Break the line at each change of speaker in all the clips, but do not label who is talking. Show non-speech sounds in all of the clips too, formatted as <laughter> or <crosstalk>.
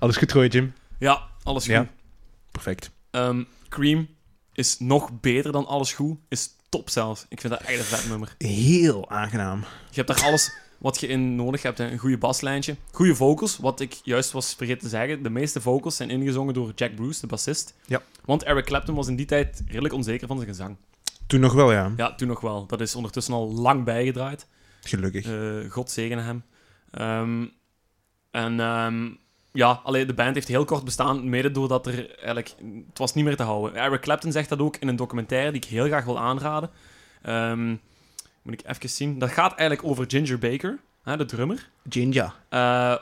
Alles goed gooien, Jim?
Ja, alles goed.
Ja. Perfect.
Ehm, Cream is nog beter dan alles goed. Is top zelfs. Ik vind dat echt een vet nummer.
Heel aangenaam.
Je hebt daar alles wat je in nodig hebt. hè. Een goede baslijntje. Goede vocals. Wat ik juist was vergeten te zeggen. De meeste vocals zijn ingezongen door Jack Bruce, de bassist.
Ja.
Want Eric Clapton was in die tijd redelijk onzeker van zijn gezang.
Toen nog wel, ja.
Ja, toen nog wel. Dat is ondertussen al lang bijgedraaid.
Gelukkig.
Eh, God zegene hem. Ehm, en ehm, ja, alleen de band heeft heel kort bestaan, mede doordat er eigenlijk... Het was niet meer te houden. Eric Clapton zegt dat ook in een documentaire die ik heel graag wil aanraden. Ehm, moet ik even zien. Dat gaat eigenlijk over Ginger Baker, hè, de drummer.
Ginger.
Eh,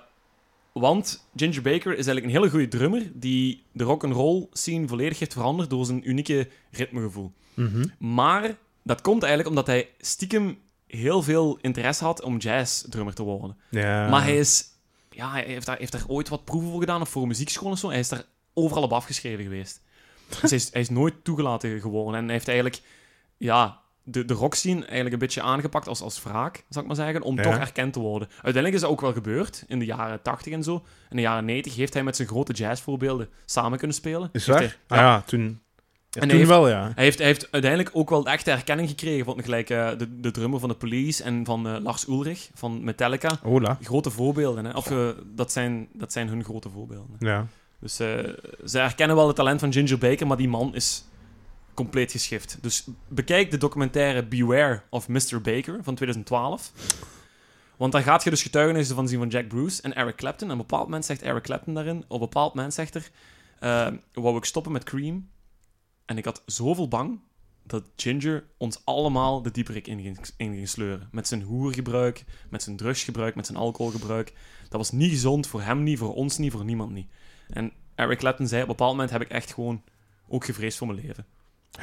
want Ginger Baker is eigenlijk een hele goede drummer die de rock'n'roll scene volledig heeft veranderd door zijn unieke ritmegevoel.
Mhm.
Maar dat komt eigenlijk omdat hij stiekem heel veel interesse had om jazzdrummer te worden.
Ja.
Maar hij is... Ja, hij heeft daar, heeft daar ooit wat proeven voor gedaan, of voor muziekschool of zo. Hij is daar overal op afgeschreven geweest. Dus hij is, hij is nooit toegelaten geworden. En hij heeft eigenlijk, ja, de, de rockscene eigenlijk een beetje aangepakt als, als wraak, zou ik maar zeggen, om
Ja.
toch erkend te worden. Uiteindelijk is dat ook wel gebeurd, in de jaren 80 en zo. In de jaren 90 heeft hij met zijn grote jazzvoorbeelden samen kunnen spelen.
Is
Heeft
waar? Ah
hij-
ja, toen... Ja,
En hij
toen
heeft-
wel, ja.
hij heeft, hij heeft uiteindelijk ook wel de echte erkenning gekregen. Want gelijk eh, de, de drummer van de Police en van eh, Lars Ulrich van Metallica.
Hola.
Grote voorbeelden, hè? Of, eh, dat, zijn, dat zijn hun grote voorbeelden.
Ja.
Dus eh, ze herkennen wel het talent van Ginger Baker, maar die man is compleet geschift. Dus bekijk de documentaire Beware of Mr. Baker van 2012. Want daar gaat je dus getuigenissen van zien van Jack Bruce en Eric Clapton. En op een bepaald moment zegt Eric Clapton daarin, op een bepaald moment zegt er, eh, wou ik stoppen met Cream. En ik had zoveel bang dat Ginger ons allemaal de dieperik in ging, in ging sleuren. Met zijn hoergebruik, met zijn drugsgebruik, met zijn alcoholgebruik. Dat was niet gezond voor hem niet, voor ons niet, voor niemand niet. En Eric Clapton zei, op een bepaald moment heb ik echt gewoon ook gevreesd voor mijn leven.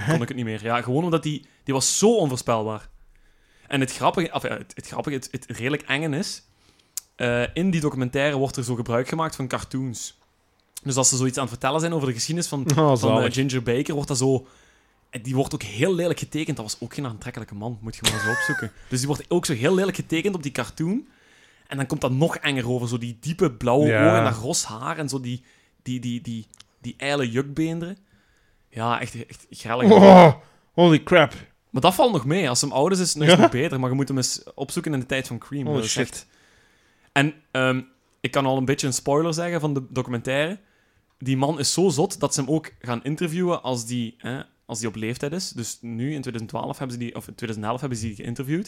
Kon ik het niet meer. Ja, gewoon omdat die, die was zo onvoorspelbaar. En het grappige, of, ja, het, het grappige, het, het redelijk engen is, eh, in die documentaire wordt er zo gebruik gemaakt van cartoons. Dus als ze zoiets aan het vertellen zijn over de geschiedenis van,
<laughs> Oh,
van eh,
zalig.
Ginger Baker, wordt dat zo... en Die wordt ook heel lelijk getekend. Dat was ook geen aantrekkelijke man, moet je maar eens opzoeken. <laughs> Dus die wordt ook zo heel lelijk getekend op die cartoon. En dan komt dat nog enger over. Zo die diepe blauwe
Ja.
ogen en dat ros haar en zo die, die, die, die, die eile jukbeenderen. Ja, echt, echt grellig.
Oh, holy crap.
Maar dat valt nog mee. Als hem ouders is,
<laughs>
dan is het nog beter. Maar je moet hem eens opzoeken in de tijd van Cream.
Oh,
Dat is
shit.
echt- En ehm, ik kan al een beetje een spoiler zeggen van de documentaire. Die man is zo zot dat ze hem ook gaan interviewen als die, hè, als die op leeftijd is. Dus nu, in 2012 hebben ze die, of in 2011 hebben ze die geïnterviewd.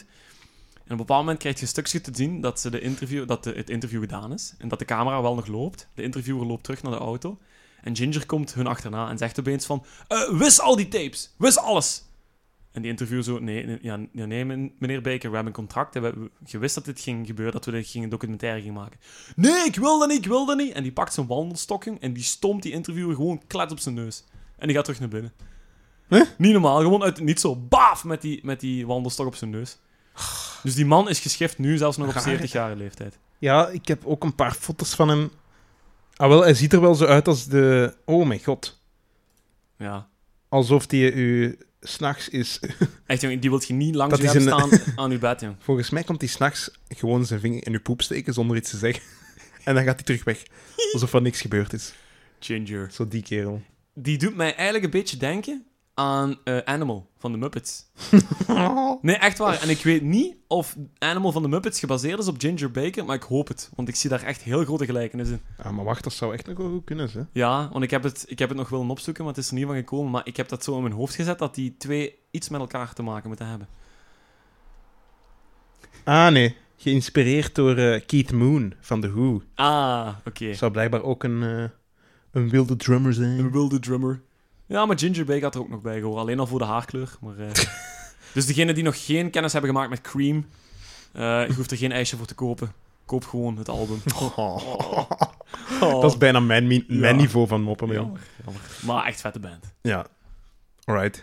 En op een bepaald moment krijg je een stukje te zien dat, ze de interview, dat de, het interview gedaan is. En dat de camera wel nog loopt. De interviewer loopt terug naar de auto. En Ginger komt hun achterna en zegt opeens van... "Eh, wis al die tapes! Wis alles! En die interview zo... Nee, nee, ja, ja, nee men- meneer Baker, we hebben een contract. En we, we- je wist dat dit ging gebeuren, dat we dit gingen documentaire gingen maken. Nee, ik wil dat niet, ik wil dat niet! En die pakt zijn wandelstokking en die stomt die interviewer gewoon klets op zijn neus. En die gaat terug naar binnen.
Huh?
Niet normaal, gewoon uit het niet zo baaf met die, met die wandelstok op zijn neus. Dus die man is geschift nu zelfs nog op
Raar.
70 jaar leeftijd.
Ja, ik heb ook een paar foto's van hem. Ah, wel, hij ziet er wel zo uit als de... Oh mijn god.
Ja.
Alsof die u s'nachts is...
Echt, jongen, die wilt je niet langs
Dat
je
is
hebben
een-
staan
<laughs>
aan je bed, jong.
Volgens mij komt hij s'nachts gewoon zijn vinger in uw poep steken zonder iets te zeggen. <laughs> En dan gaat hij terug weg. Alsof er niks gebeurd is.
Ginger.
Zo die <laughs> kerel.
Die doet mij eigenlijk een beetje denken aan eh, Animal van de Muppets. Nee, echt waar. En ik weet niet of Animal van de Muppets gebaseerd is op Ginger Baker, maar ik hoop het. Want ik zie daar echt heel grote gelijkenissen in.
Ah, maar wacht, dat zou echt nog wel goed kunnen, hè?
Ja, want ik heb, het, ik heb het nog willen opzoeken, maar het is er niet van gekomen. Maar ik heb dat zo in mijn hoofd gezet dat die twee iets met elkaar te maken moeten hebben.
Ah, nee. Geïnspireerd door eh, Keith Moon van The Who.
Ah, oké.
Zou blijkbaar ook een, eh, een wilde drummer
Een
<laughs> zijn.
wilde drummer. Ja, maar Ginger Baker had er ook nog bij gehoord. Alleen al voor de haarkleur. Maar, eh. <laughs> dus degenen die nog geen kennis hebben gemaakt met Cream, eh je hoeft er geen ijsje voor te kopen. Koop gewoon het <laughs> album. Oh,
Dat is bijna mijn, mi- mijn
Ja.
niveau van moppen, man.
jammer, jammer. Maar echt vette band.
Ja. Alright.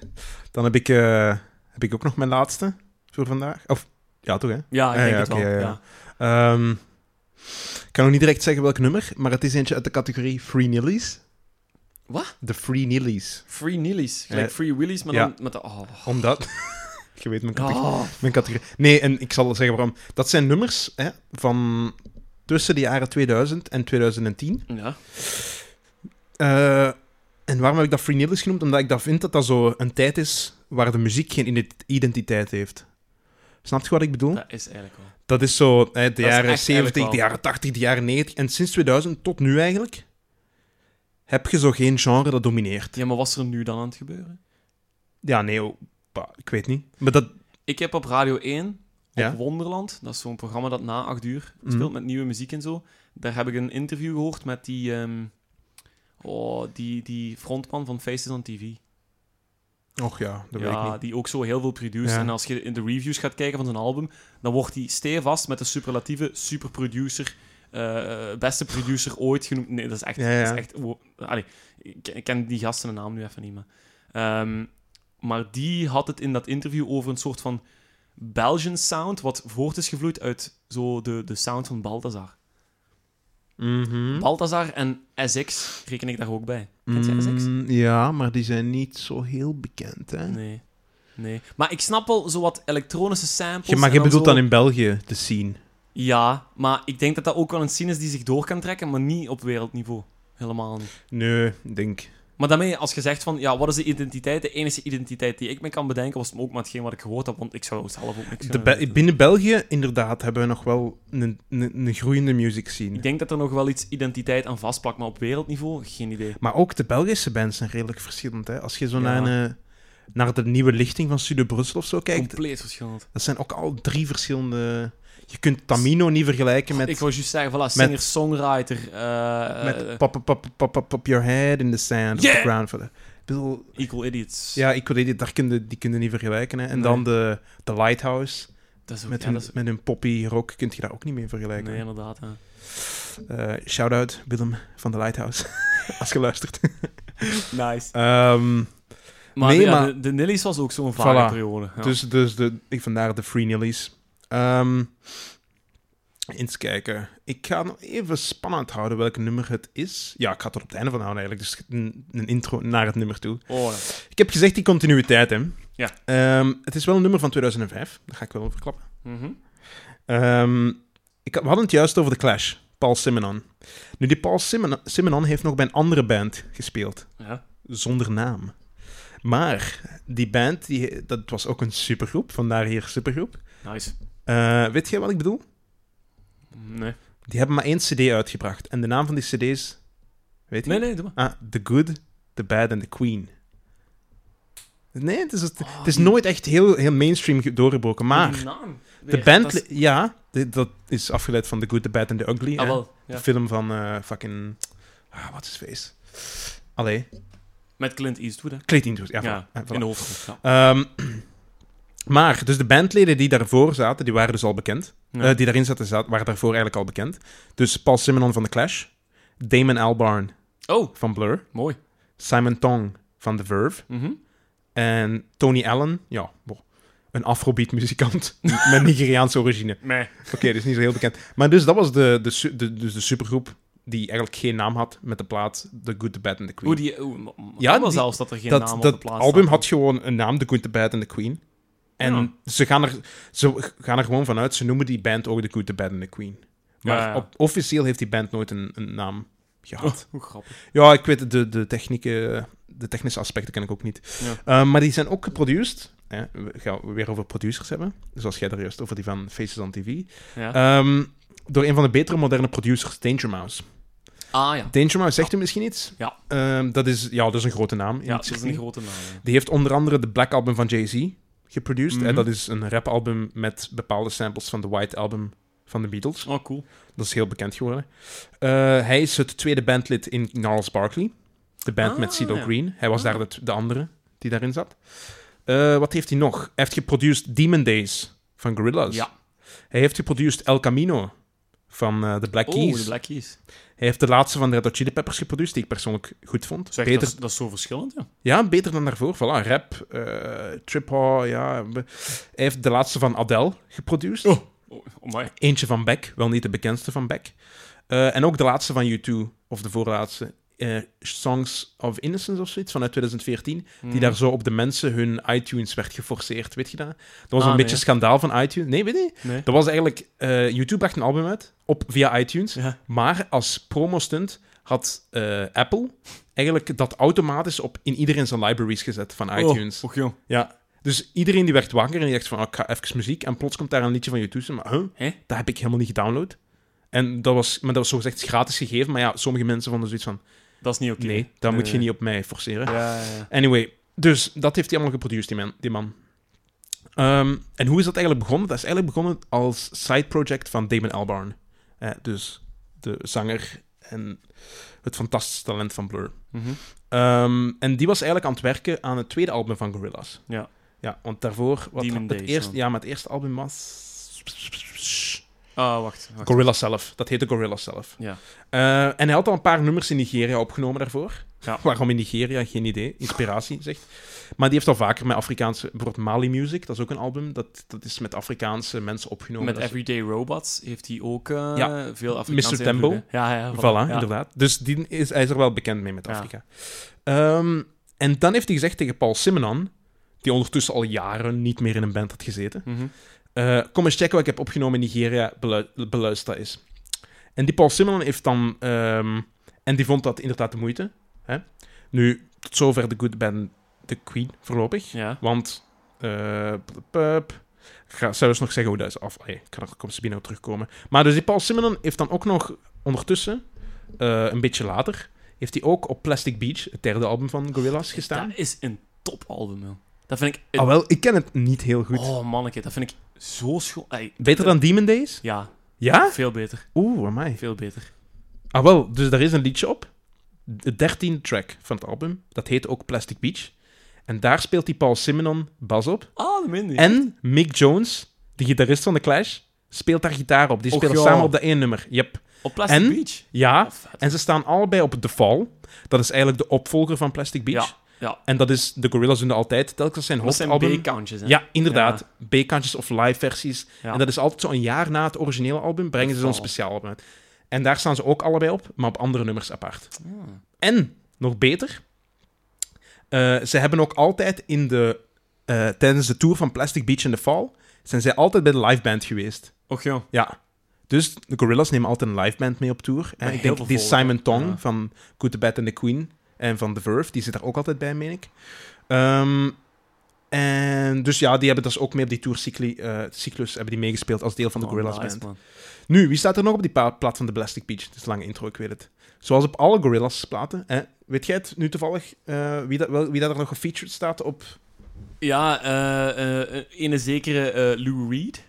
Dan heb ik, eh, heb ik ook nog mijn laatste voor vandaag. Of, ja, toch, hè?
Ja, ik
Ah,
denk
ja,
het
oké,
wel.
ja, ja.
ja.
Ehm, ik kan nog niet direct zeggen welk nummer, maar het is eentje uit de categorie Free Nillies.
Wat?
De Free Nillies.
Free Nillies. Gelijk
Ja.
Free Willies, maar
Eh, Ja.
dan met de... Oh.
Omdat... <laughs> Je weet mijn categorie.
Oh.
Mijn categorie. Nee, en ik zal zeggen waarom. Dat zijn nummers hè, van tussen de jaren 2000 en 2010.
Ja.
Eh, en waarom heb ik dat Free Needles genoemd? Omdat ik dat vind dat dat zo een tijd is waar de muziek geen ide- identiteit heeft. Snap je wat ik bedoel?
Dat is eigenlijk wel.
Dat is zo hè, de
is
jaren
echt
70,
eigenlijk
de
wel.
jaren 80, de jaren 90. En sinds 2000 tot nu eigenlijk heb je zo geen genre dat domineert.
Ja, maar wat is er nu dan aan het gebeuren?
Ja, nee, oh, bah, ik weet niet. Maar dat...
Ik heb op Radio 1, op
Ja.
Wonderland, dat is zo'n programma dat na 8 uur
Mhm.
speelt met nieuwe muziek en zo. Daar heb ik een interview gehoord met die, ehm, oh, die, die frontman van Faces on TV.
Och ja, dat weet ik
ja,
niet.
die ook zo heel veel produce.
Ja.
En als je in de reviews gaat kijken van zijn album, dan wordt hij stevast met de superlatieve superproducer, eh, beste producer ooit genoemd. Nee, dat is echt...
Ja, ja.
Dat is echt wo- Allee, ik, ik ken die gasten naam nu even niet, maar... Ehm, maar die had het in dat interview over een soort van Belgian sound, wat voort is gevloeid uit zo de, de sound van Balthazar.
Mhm.
Balthazar en SX reken ik daar ook bij. Kent je SX?
Mm, ja, maar die zijn niet zo heel bekend, hè?
Nee. Nee. Maar ik snap wel zo wat elektronische samples.
Je, maar
en
je bedoelt
zo-
dan in België de scene.
Ja, maar ik denk dat dat ook wel een scene is die zich door kan trekken, maar niet op wereldniveau. Helemaal niet.
Nee, ik denk.
Maar daarmee, als je zegt van, ja, wat is de identiteit? De enige identiteit die ik me kan bedenken, was ook maar hetgeen wat ik gehoord heb, want ik zou zelf ook niks
De
kunnen
Be-
weten.
binnen België, inderdaad, hebben we nog wel een, een, een groeiende music scene.
Ik denk dat er nog wel iets identiteit aan vastplakt, maar op wereldniveau, geen idee.
Maar ook de Belgische bands zijn redelijk verschillend. Hè? Als je zo
Ja.
naar, een, eh, naar de nieuwe lichting van Studio Brussel of zo kijkt,
Compleet verschillend.
dat zijn ook al drie verschillende. Je kunt Tamino niet vergelijken met,
Ik wou juist zeggen, voilà, singer-songwriter, eh, eh,
met pop, pop, pop, pop, pop, pop Your Head in the Sand of
Yeah!
the Ground. voor de- Ik bedoel,
Equal Idiots.
ja, ik weet het, daar kunnen, die kunnen niet vergelijken. Hè? En
Nee.
dan de, de Lighthouse.
dat is ook,
Met,
ja,
hun,
dat is-
met hun poppy rock kun je daar ook niet mee vergelijken.
Nee, inderdaad. hè.
Eh, Shout-out Willem van de Lighthouse. <laughs> Als je luistert.
Nice.
Ehm,
Maar,
Nee,
ja,
maar-
de, de Nillies was ook zo'n vage
Voilà.
periode. Ja.
Dus, dus de, ik, vandaar de Free Nillies. Ehm, eens kijken. Ik ga nog even spannend houden welk nummer het is. Ja, ik ga het er op het einde van houden eigenlijk. Dus een, een intro naar het nummer toe.
Oh, ja.
Ik heb gezegd die continuïteit, hè.
Ja.
Ehm, het is wel een nummer van 2005. Dat ga ik wel verklappen.
Mhm.
Ehm, ik, had- we hadden het juist over The Clash. Paul Simonon. Nu, die Paul Simonon, Simonon heeft nog bij een andere band gespeeld
ja.
zonder naam. Maar die band, die, dat was ook een supergroep, vandaar hier supergroep.
Nice.
Eh, weet jij wat ik bedoel?
Nee.
Die hebben maar één cd uitgebracht. En de naam van die cd is... Weet je?
Nee, nee, doe maar.
Ah, The Good, The Bad and The Queen. Nee, het is, het,
Oh,
het is
die-
nooit echt heel, heel mainstream ge- doorgebroken.
Die
Maar
naam
de
weer,
band...
dat is-
li- Ja, de- dat is afgeleid van The Good, The Bad and The Ugly.
Ah,
hè?
wel.
De
Ja.
film van eh, fucking... Ah, wat is face? Allee,
Met Clint Eastwood, hè.
Clint Eastwood. Ja,
Ja,
voilà. Eh, voilà.
in de hoofdrol.
Ehm, <clears throat> maar, dus de bandleden die daarvoor zaten, die waren dus al bekend.
Ja.
Eh, die daarin zaten, zaten- waren daarvoor eigenlijk al bekend. Dus Paul Simonon van The Clash, Damon Albarn
Ja. Oh,
van Blur,
mooi.
Simon Tong van The Verve
Mhm.
en Tony Allen, ja, boh, een afrobeat muzikant <laughs>
<laughs>
met Nigeriaanse origine.
Meh.
Oké, dus niet zo heel bekend. Maar dus dat was de, de, su- de, dus de supergroep die eigenlijk geen naam had met de plaat The Good, The Bad and The Queen.
Hoe die... oeh, m- m-
Ja,
ja, wel
die-
zelfs dat er geen naam
dat,
op
dat
de plaats
album
staat.
had gewoon een naam, The Good, The Bad and The Queen. En
Ja.
ze, gaan er, ze gaan er gewoon vanuit, ze noemen die band ook The Good, The Bad and The Queen. Maar
Ja, ja.
op- officieel heeft die band nooit een, een naam gehad.
Oh, hoe grappig.
Ja, ik weet het, de, de, technieken, de technische aspecten ken ik ook niet. Eh, maar die zijn ook geproduced. Hè, we gaan het weer over producers hebben. Zoals jij daar juist over die van Faces on TV.
Ja.
Ehm, door een van de betere moderne producers, Danger Mouse.
ah, ja.
Danger Mouse zegt u misschien iets?
Ja.
Ehm, dat, is, ja dat is een grote naam. in
Ja,
het
dat is
circuit.
een grote naam. ja.
Die heeft onder andere de Black Album van Jay-Z geproduced.
Mhm.
Hè, dat is een rapalbum met bepaalde samples van de White Album van de Beatles.
Oh, cool.
Dat is heel bekend geworden. Eh, hij is het tweede bandlid in Gnarls Barkley. De band
Ah,
met CeeLo
ja.
Green. Hij was
Ah.
daar de, de andere die daarin zat. Eh, wat heeft hij nog? Hij heeft geproduced Demon Days van Gorillaz.
Ja.
Hij heeft geproduced El Camino van eh The Black
Oh,
Keys.
de Black Keys.
Hij heeft de laatste van de Red Hot Chili Peppers geproduceerd, die ik persoonlijk goed vond.
Zeg,
Beter
dat, is, dat is zo verschillend, ja.
ja, beter dan daarvoor. Voilà, rap, eh trip-hop, ja. Hij heeft de laatste van Adele geproduceerd.
Oh, amai.
Eentje van Beck, wel niet de bekendste van Beck. Eh, en ook de laatste van U2, of de voorlaatste, eh, Songs of Innocence of zoiets, vanuit 2014,
Hmm.
die daar zo op de mensen hun iTunes werd geforceerd, weet je dat? Dat was
Ah,
een beetje
nee.
schandaal van iTunes. Nee, weet je?
Nee.
Dat was eigenlijk... eh, YouTube bracht een album uit, op, via iTunes,
Ja.
maar als promostunt had eh, Apple eigenlijk dat automatisch op in iedereen zijn libraries gezet van iTunes.
Oh, och, joh.
Ja. Dus iedereen die werd wakker en die dacht van, oh, ik ga even muziek. En plots komt daar een liedje van je tussen. Maar huh,
Hè?
dat heb ik helemaal niet gedownload. En dat was, maar dat was zogezegd gratis gegeven. Maar ja, sommige mensen vonden zoiets van,
Dat is niet oké.
nee, dat moet je
nee.
niet op mij forceren.
Ja, ja, ja.
Anyway, dus dat heeft hij allemaal geproduceerd, die man. Die man. Ehm, en hoe is dat eigenlijk begonnen? Dat is eigenlijk begonnen als side project van Damon Albarn. Eh, dus de zanger en het fantastische talent van Blur.
Mhm.
Ehm, en die was eigenlijk aan het werken aan het tweede album van Gorillaz.
Ja.
Ja, want daarvoor... Wat
Demon
het
Days,
eerste,
ja.
ja, maar het eerste album was...
Ah, wacht. wacht.
Gorillaz zelf. Dat heette Gorillaz zelf.
Ja.
Eh, en hij had al een paar nummers in Nigeria opgenomen daarvoor.
Ja.
<laughs> Waarom in Nigeria? Geen idee. Inspiratie, zegt. Maar die heeft al vaker met Afrikaanse... Bijvoorbeeld Mali Music, dat is ook een album. Dat, dat is met Afrikaanse mensen opgenomen.
Met
Dat is-
Everyday Robots heeft hij ook eh,
Ja.
veel Afrikaanse
Mr. Tembo.
invloeden. Ja, ja.
Voilà,
ja.
inderdaad. Dus die is, hij is er wel bekend mee met
Ja.
Afrika. Ehm, en dan heeft hij gezegd tegen Paul Simonon, die ondertussen al jaren niet meer in een band had gezeten,
Mhm.
eh, kom eens checken wat ik heb opgenomen in Nigeria, belu beluister dat eens. En die Paul Simonon heeft dan... ehm, en die vond dat inderdaad de moeite. Hè? Nu, tot zover de Good Band The Queen voorlopig.
Ja.
Want... eh, pup, pup. ik ga zelfs nog zeggen hoe dat is af. Allee, ik kan er komt binnen op terugkomen. Maar dus die Paul Simonon heeft dan ook nog ondertussen, eh, een beetje later, heeft hij ook op Plastic Beach, het derde album van Gorillaz, gestaan.
Dat is een topalbum, man. Dat vind ik... een-
Ah wel, ik ken het niet heel goed.
Oh, manneke. Dat vind ik zo schoon. Ey,
Beter dan Demon Days?
Ja,
Ja?
veel beter.
Oeh, mij.
Veel beter.
Ah wel, dus daar is een liedje op. De dertiende track van het album. Dat heet ook Plastic Beach. En daar speelt die Paul Simonon bas op.
Ah, dat minder.
En Mick Jones, de gitarist van The Clash, speelt daar gitaar op. Die
Och,
spelen
joh.
samen op dat één nummer. Yep.
Op Plastic
en-
Beach.
Ja.
Oh, vet.
En ze staan allebei op The Fall. Dat is eigenlijk de opvolger van Plastic Beach.
Ja, ja.
En dat is, de Gorillaz doen dat altijd. Telkens zijn
Dat zijn
hoofdalbum.
B-countjes, hè?
Ja, inderdaad. B-kantjes of live versies.
Ja.
En dat is altijd zo'n jaar na het originele album brengen ze zo'n
Oh.
speciaal album uit. En daar staan ze ook allebei op, maar op andere nummers apart.
Ah.
En, nog beter, eh, ze hebben ook altijd in de... eh, tijdens de tour van Plastic Beach in the Fall zijn zij altijd bij de live band geweest.
Och, joh.
Ja. Dus de Gorillaz nemen altijd een live band mee op tour.
Bij
En ik
heel
denk
veel
die
volk,
Simon Tong
ja.
van Good, the Bad and the Queen en van The Verve, die zit daar ook altijd bij, meen ik. Ehm, en dus ja, die hebben dus ook mee op die tourcycli, eh, cyclus hebben die meegespeeld als deel van de
Oh,
Gorillaz
nice,
band.
man.
Nu, wie staat er nog op die pa- plaat van de Plastic Beach? Het is een lange intro, ik weet het. Zoals op alle Gorillaz platen. Hè? Weet jij het nu toevallig eh, wie, dat, wel, wie dat er nog gefeatured staat op?
Ja, eh eh ene zekere eh, Lou Reed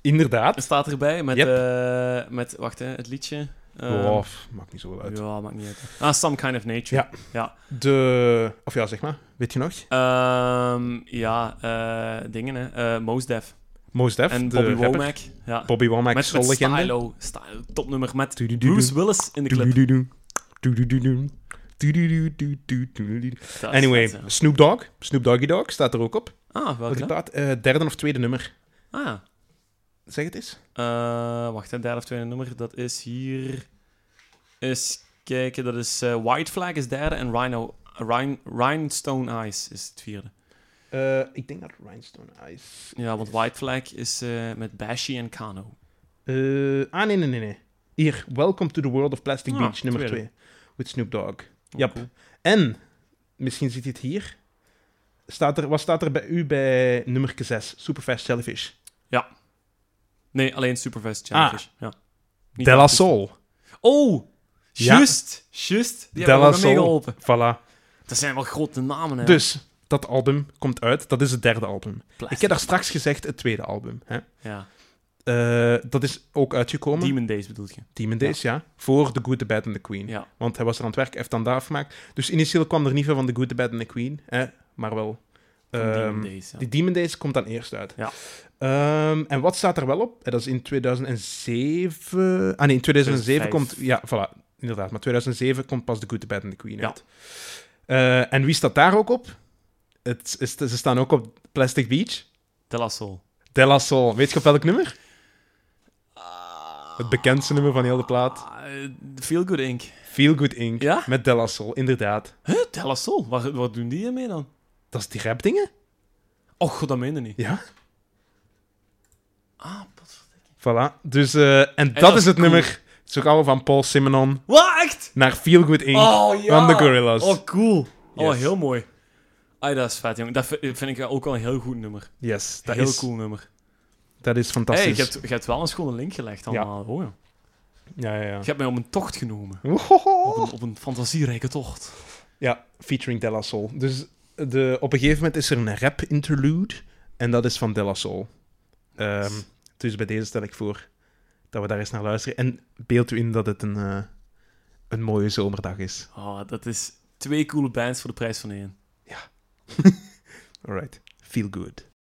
Inderdaad.
staat erbij met,
Yep.
eh, met wacht hè, het liedje. Eh,
oh, pff, maakt niet zoveel uit.
ja, maakt niet uit. Ah, Some Kind of Nature.
Ja. De... Of ja, zeg maar. Weet je nog?
Ja, Ehm, ja eh, dingen hè. Eh Mos Def
Mos Def,
en
de
Bobby
rapper.
Womack. Ja.
Bobby Womack,
Met, met
soul-legende.
Stylo, Stylo, topnummer met
Du-du-du-du.
Bruce Willis in de clip.
Du-du-du-du. Du-du-du-du. Du-du-du-du-du-du-du.
Dat is
Anyway,
vet, ja.
Snoop Dogg, Snoop Doggy Dogg staat er ook op.
Ah,
Op
welke
die
dan?
plaat, eh, derde of tweede nummer.
Ah, ja.
Zeg het eens.
Eh, wacht, hè, derde of tweede nummer. Dat is hier. Is kijken, dat is eh, White Flag is derde en Rhino, Rhin, Rhinestone Eyes is het vierde.
Eh, ik denk dat Rhinestone Eyes.
Ja, want White Flag is eh, met Bashi en Kano. Oh,
Eh, ah, nee, nee, nee, nee. Hier, Welcome to the World of Plastic
Ah,
Beach, nummer
tweede.
2. With Snoop Dogg.
Oh,
Jap.
cool.
En, misschien ziet je het hier. Staat er, wat staat er bij u bij nummer 6? Superfast Jellyfish.
Nee, alleen Superfest Jellyfish. Ja. Niet
Ah. Della
artiest.
Soul.
Oh!
Ja.
Just! Just! Die
Della
hebben me
Soul.
meegeholpen.
Voilà.
Dat zijn wel grote namen, hè.
Dus, dat album komt uit. Dat is het derde album.
Plastic.
Ik heb daar straks gezegd het tweede album. Hè?
Ja.
Eh, dat is ook uitgekomen, Demon,
Demon Days bedoel je.
Days, ja. Voor The Good, The Bad and The Queen.
Ja.
Want hij was er aan het werk, heeft dan daar gemaakt. Dus initieel kwam er niet veel van The Good, The Bad and The Queen, hè? maar wel...
van
ehm,
Demon Days, ja.
Die Demon Days komt dan eerst uit.
Ja.
Ehm, en wat staat er wel op? Eh, Dat is in 2007... Ah nee, in 2007
2005.
komt... Ja, voilà, inderdaad. Maar 2007 komt pas The Good, The Bad and The Queen
Ja.
uit. Eh, en wie staat daar ook op? Het is, ze staan ook op Plastic Beach.
Della Soul.
Della Soul. Weet je op welk nummer? Het bekendste nummer van heel de plaat.
Ah, eh, Feel Good Inc.
Feel Good Inc.
Ja?
Met Delassol, inderdaad.
Huh, Della Soul, wat, wat doen die ermee dan?
Dat is die rapdingen?
Och, god, dat meende niet.
Ja.
Ah, potverdikke.
Voilà. Dus, eh, en, dat,
dat
is
is
het
cool.
nummer. Zo gaan we van Paul Simonon
Wat, echt?
naar Feel Good Inc.
Oh, ja.
Van de Gorillaz.
Oh, cool. Oh,
Yes.
heel mooi. Ai, dat is vet, jong. Dat vi- vind ik ook wel een heel goed nummer.
Yes, dat
heel
is,
cool nummer.
Dat is
Hey,
fantastisch.
je, hebt, je hebt wel een schone link gelegd allemaal. hoor. joh.
Ja, ja, ja.
Je hebt mij op een tocht genomen. Op een, op een fantasierijke tocht.
Ja, featuring Della Soul. Dus de, op een gegeven moment is er een rap interlude. En dat is van Della Soul. Ehm,
Nice.
dus bij deze stel ik voor dat we daar eens naar luisteren. En beeld u in dat het een, eh, een mooie zomerdag is.
Oh, dat is twee coole bands voor de prijs van één.
Alright. Feel good.